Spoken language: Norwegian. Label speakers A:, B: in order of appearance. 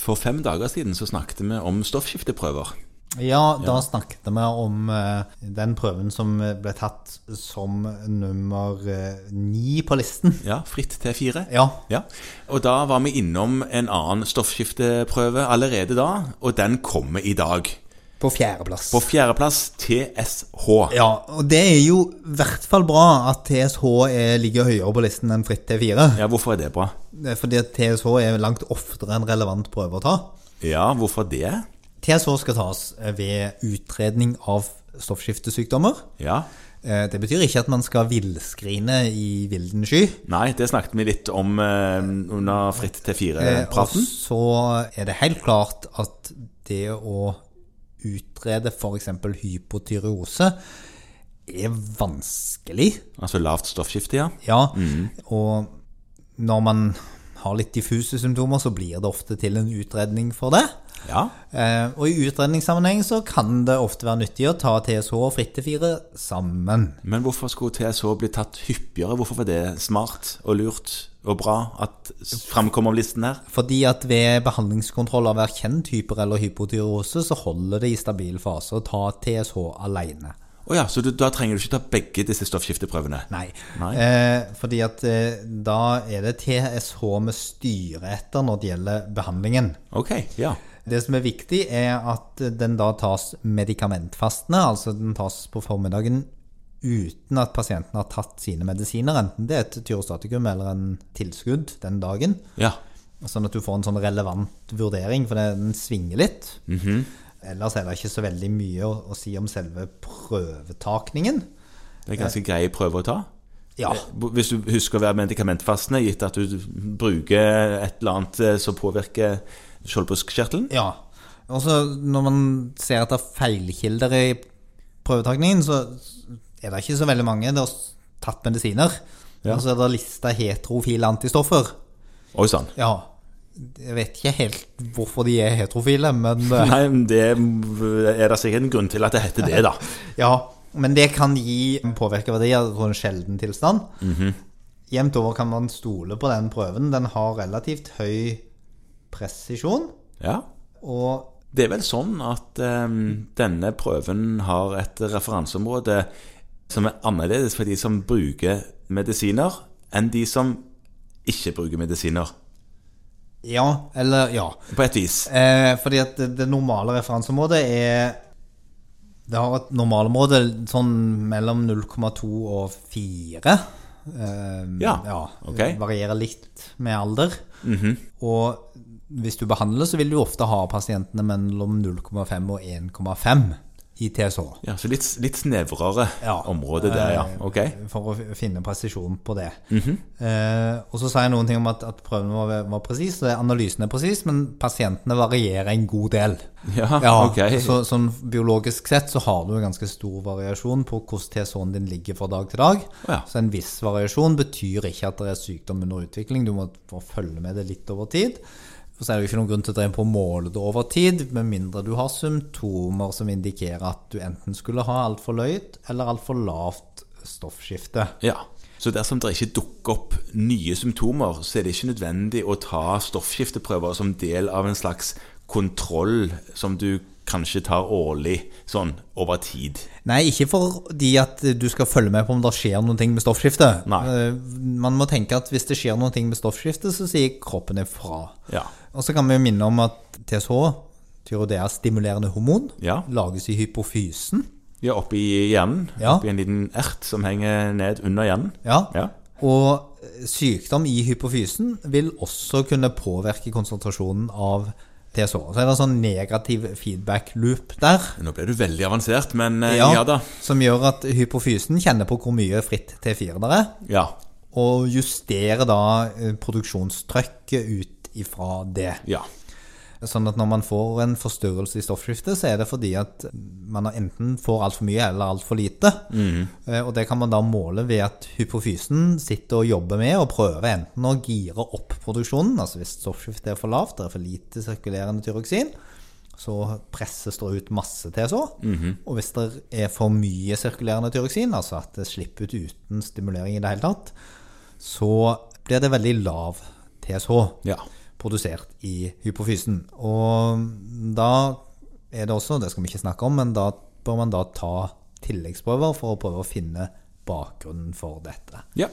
A: For fem dager siden så snakket vi om stoffskifteprøver.
B: Ja, da snakket vi om eh, den prøven som eh, ble tatt som nummer eh, ni på listen.
A: Ja, fritt T4.
B: Ja.
A: Ja. Og da var vi innom en annen stoffskifteprøve allerede da, og den kommer i dag.
B: På fjerdeplass.
A: På fjerdeplass TSH.
B: Ja, og det er jo i hvert fall bra at TSH er, ligger høyere på listen enn fritt T4.
A: Ja, hvorfor er det bra?
B: Det er Fordi at TSH er langt oftere en relevant prøve å ta.
A: Ja, hvorfor det?
B: TSH skal tas eh, ved utredning av stoffskiftesykdommer.
A: Ja.
B: Eh, Det betyr ikke at man skal villskrine i vilden sky.
A: Nei, det snakket vi litt om eh, under fritt T4-praten.
B: Eh, Og så er det helt klart at det å utrede f.eks. hypotyreose er vanskelig.
A: Altså lavt stoffskifte, ja.
B: Ja, og når man har litt diffuse symptomer, så blir det ofte til en utredning for det.
A: Ja,
B: Eh, og i utredningssammenheng så kan det ofte være nyttig å ta TSH og frittefire sammen.
A: Men hvorfor skulle TSH bli tatt hyppigere? Hvorfor var det smart og lurt og bra at framkom om listen her?
B: Fordi at ved behandlingskontroll av erkjent hyper- eller hypotyreose, så holder det i stabil fase å ta TSH alene.
A: Å ja, så du, da trenger du ikke ta begge disse stoffskifteprøvene?
B: Nei.
A: Nei.
B: Eh, fordi at eh, da er det TSH vi styrer etter når det gjelder behandlingen.
A: Ok, ja.
B: Det som er viktig, er at den da tas medikamentfastende, altså den tas på formiddagen uten at pasienten har tatt sine medisiner, enten det er et tyrostatikum eller en tilskudd den dagen.
A: Ja.
B: Sånn at du får en sånn relevant vurdering, for det- den svinger litt. Ellers er det ikke så veldig mye å, å si om selve prøvetakningen. Eh,
A: Det er ganske greie prøver å ta.
B: Ja.
A: Hvis du husker å være medikamentfastende, gitt at du bruker et eller annet eh, som påvirker skjoldbruskkjertelen.
B: Ja. Og så når man ser etter feilkilder i prøvetakningen, så er det ikke så veldig mange. Det er tatt medisiner. Og så er det lista heterofile antistoffer.
A: Oi sann.
B: Ja. Jeg vet ikke helt hvorfor de er heterofile, men eh,
A: Nei, men det er det sikkert en grunn til at det heter det, da.
B: ja. Men det kan gi påvirkerverdier på en sjelden tilstand. Jevnt over kan man stole på den prøven. Den har relativt høy presisjon.
A: Ja.
B: Og
A: Det er vel sånn at eh, denne prøven har et referanseområde som er annerledes for de som bruker medisiner, enn de som ikke bruker medisiner,
B: ja, eller ja.
A: på et vis.
B: Eh, fordi at det, det normale referanseområdet er Det har et normalområde sånn mellom 0,2 og 4. Eh,
A: Ja, ok. Mhm.
B: Det varierer litt med alder. Og hvis du behandler, så vil du ofte ha pasientene mellom 0,5 og 1,5 i TSH.
A: Ja, så litt, litt snevrere
B: Ja. Eh.
A: område der, ja. Ok.
B: For å f- finne presisjon på det.
A: Mhm.
B: eh, og så sa jeg noen ting om at, at prøven var, var presis, og analysen er presis, men pasientene varierer en god del.
A: Ja, ok.
B: så, sånn biologisk sett så har du en ganske stor variasjon på hvordan TSH-en din ligger fra dag til dag.
A: Ja.
B: Så en viss variasjon betyr ikke at det er sykdom under utvikling, du må få følge med det litt over tid. Og så er det jo ikke noen grunn til å drive på å måle det over tid, med mindre du har symptomer som indikerer at du enten skulle ha altfor løyt eller altfor lavt stoffskifte.
A: Ja. Så dersom det ikke dukker opp nye symptomer, så er det ikke nødvendig å ta stoffskifteprøver som del av en slags kontroll som du kanskje tar årlig, sånn over tid.
B: Nei, ikke fordi at du skal følge med på om det skjer noen ting med stoffskiftet.
A: Nei.
B: Eh, Man må tenke at hvis det skjer noen ting med stoffskiftet, så sier kroppen ifra.
A: Ja.
B: Og så kan vi jo minne om at TSH, tyrodea-stimulerende hormon,
A: Ja.
B: lages i hypofysen.
A: Ja, oppi hjernen.
B: Ja.
A: Oppi en liten ert som henger ned under hjernen.
B: Ja.
A: Ja.
B: Og eh, sykdom i hypofysen vil også kunne påvirke konsentrasjonen av TSH. Så er det en sånn negativ feedback loop der.
A: Nå ble du veldig avansert, men eh,
B: Ja,
A: ja da.
B: Som gjør at hypofysen kjenner på hvor mye fritt T4 der er,
A: Ja.
B: og justerer da eh, produksjonstrykket ut ifra det.
A: Ja.
B: Sånn at når man får en forstyrrelse i stoffskiftet, så er det fordi at man har enten får altfor mye eller altfor lite. Eh, Og det kan man da måle ved at hypofysen sitter og jobber med og prøver enten å gire opp produksjonen, altså hvis stoffskiftet er for lavt, det er for lite sirkulerende tyroksin, så presses det ut masse TSH. Og hvis det er for mye sirkulerende tyroksin, altså at det slipper ut uten stimulering i det hele tatt, så blir det veldig lav TSH
A: Ja.
B: produsert i hypofysen. Og da er det også, det skal vi ikke snakke om, men da bør man da ta tilleggsprøver for å prøve å finne bakgrunnen for dette.
A: ja.